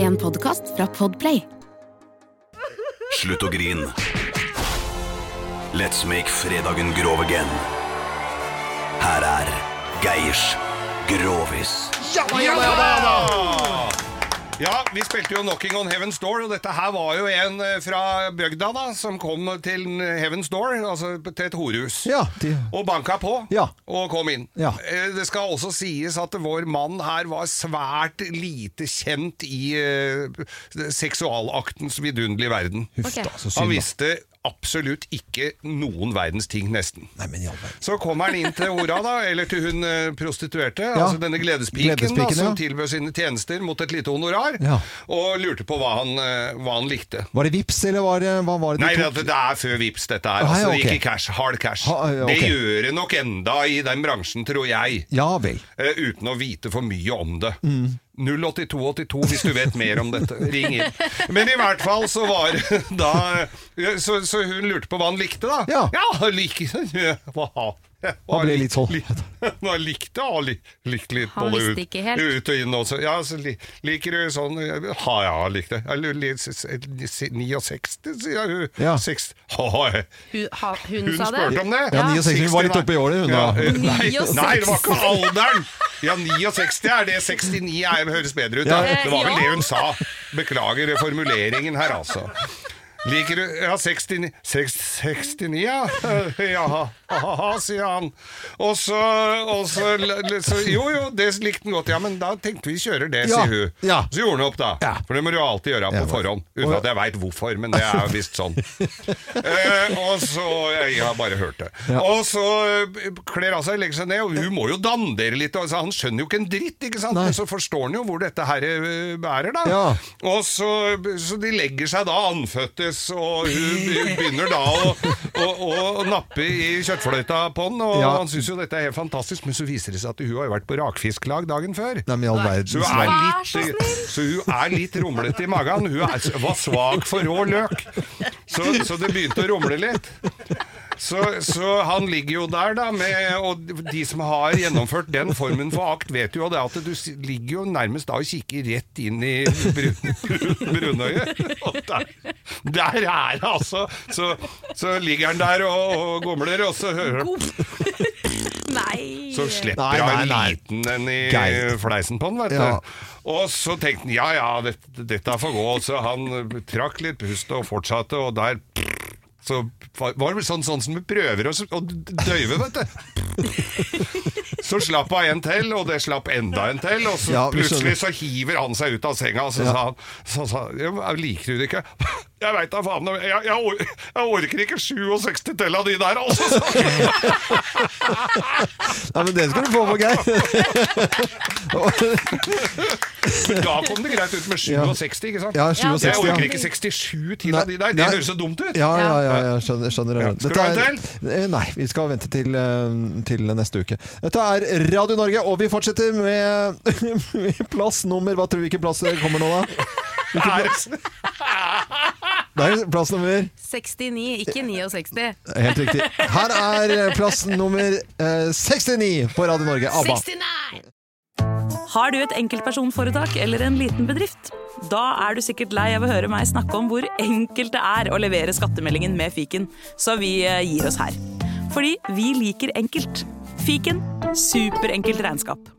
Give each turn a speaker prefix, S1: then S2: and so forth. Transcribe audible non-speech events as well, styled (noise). S1: En podkast fra Podplay.
S2: Slutt å grin. Let's make fredagen grov again. Her er Geirs Grovis.
S3: Ja, vi spilte jo 'Knocking on Heaven's Door', og dette her var jo en eh, fra bygda da, som kom til Heaven's Door, altså til et horehus.
S4: Ja, de,
S3: Og banka på,
S4: Ja.
S3: og kom inn.
S4: Ja.
S3: Eh, Det skal også sies at vår mann her var svært lite kjent i eh, seksualaktens vidunderlige verden.
S4: huff da,
S3: Han
S4: så synd. da.
S3: visste absolutt ikke noen verdens ting, nesten.
S4: Nei, men i all verden.
S3: Så kommer han inn til hora, da, eller til hun eh, prostituerte, altså denne gledespiken, da,
S4: Gledespiken,
S3: som
S4: ja.
S3: tilbød sine tjenester mot et lite honorar,
S4: Ja.
S3: og lurte på hva han, eh, hva han likte.
S4: Var det vips, eller var det, hva var det
S3: Nei,
S4: de
S3: det,
S4: tok?
S3: det er før Vips dette her.
S4: Ah,
S3: Altså,
S4: ja,
S3: det gikk
S4: ok.
S3: i cash, hard cash.
S4: Ha, ja,
S3: Det
S4: ok.
S3: gjør det nok enda i den bransjen, tror jeg.
S4: Ja vel.
S3: eh, uten å vite for mye om det. 08282 hvis du vet mer om dette. Ring inn. Men i hvert fall så var (laughs) det da eh, Så, så hun lurte på hva han likte, da.
S4: Ja.
S3: han (laughs) likte hva, hva
S4: Han ble litt sånn.
S3: (laughs) Han likte han li, likte litt
S1: Han
S3: både
S1: visste
S3: ut,
S1: ikke helt.
S3: ut og inn også. Ja, så li, liker du sånn Ja, ja, han likte det. Eller li- s- s- 69, sier hun.
S4: Ja.
S3: Seks- (laughs) Ha, ha,
S5: Hun, ha, hun,
S3: hun
S5: sa det?
S3: spurte om det.
S4: Ja,
S5: (laughs)
S4: 69 var litt oppe i året, hun da.
S3: Ja, eh, nei,
S1: 69.
S3: nei, det var ikke alderen! Ja, 69 er det. 69 er, høres bedre ut. Da.
S4: Ja.
S3: Det var vel
S5: Ja.
S3: det hun sa. Beklager formuleringen her, altså. Liker du Ja, 69 seks- 69, ja. (laughs) Jaha, aha, sier han. Og så, og så, så Jo, jo, det likte han godt. Ja, men da tenkte vi kjører det,
S4: Ja,
S3: sier hun.
S4: ja.
S3: Så gjorde han opp, da.
S4: Ja.
S3: For det må du alltid gjøre på
S4: Ja,
S3: forhånd. Uten
S4: og-
S3: at jeg veit hvorfor, men det er visst sånn.
S4: (laughs)
S3: Eh, og så Jeg har bare hørt det.
S4: Ja.
S3: Og så eh, kler han seg, legger seg ned, og hun må jo dandere litt. Altså, han skjønner jo ikke en dritt, ikke sant?
S4: Nei.
S3: men så forstår han jo hvor dette her eh, bærer, da.
S4: Ja.
S3: Og så, så de legger seg da anføttes, og hun be- begynner da å, å, å, å nappe i kjøttfløyta på den, og
S4: Ja.
S3: han syns jo dette er helt fantastisk, men så viser det seg at hun har jo vært på rakfisklag dagen før.
S4: Nei, men i all
S3: Så hun er
S4: verden.
S5: Vær så
S3: litt, så hun er litt rumlete i magen. Hun er, altså- var svak for rå løk, så, så det begynte å rumle litt. Så, så han ligger jo der, da, med, og de som har gjennomført den formen for akt, vet jo det at du s- ligger jo nærmest da og kikker rett inn i brun- brun- brunøyet. Og der, der er det altså! Så, så ligger han der og, og gomler, og så hører han
S5: Nei!
S3: så slipper
S4: Nei,
S3: han
S4: nei,
S3: en
S4: nei.
S3: liten en i
S4: Geir.
S3: fleisen på den, vet
S4: Ja.
S3: du. Og så tenkte han ja ja, dette, dette får gå. Så han eh, trakk litt pust og fortsatte, og der så var var det sånn, sånn som vi prøver å s- å døyve, vet du.
S4: (laughs)
S3: Så slapp hun en til, og det slapp enda en til, og så
S4: Ja, vi
S3: plutselig så hiver han seg ut av senga, og så
S4: Ja.
S3: sa han så, sa han, «Ja, Liker du det ikke? (laughs) Jeg veit da faen, jeg, jeg, or- jeg orker ikke 67 til av de der, altså! sa han.
S4: Ja, men det skal du få på, Geir. (laughs) (laughs)
S3: Da kom det greit ut med 67, ikke sant?
S4: Ja,
S3: Jeg
S4: 67,
S3: orker
S4: ja.
S3: ikke 67 til av de der, det
S4: Nei.
S3: høres så dumt ut.
S4: Ja, ja, ja, ja skjønner. skjønner.
S3: Ja. Skal du ha en
S4: Dette er- Eh, Nei, vi skal vente til, eh, til neste uke. Dette er Radio Norge, og vi fortsetter med, (laughs) med plass nummer Hva tror du hvilken plass det kommer nå, da?
S3: Er-
S4: Det er plass nummer
S5: 69, ikke 69.
S4: Helt riktig. Her er plass nummer eh, 69 på Radio Norge. ABBA.
S5: 69!
S6: Har du et enkeltpersonforetak eller en liten bedrift? Da er du sikkert lei av å høre meg snakke om hvor enkelt det er å levere skattemeldingen med fiken, så vi eh, gir oss her. Fordi vi liker enkelt. Fiken superenkelt regnskap.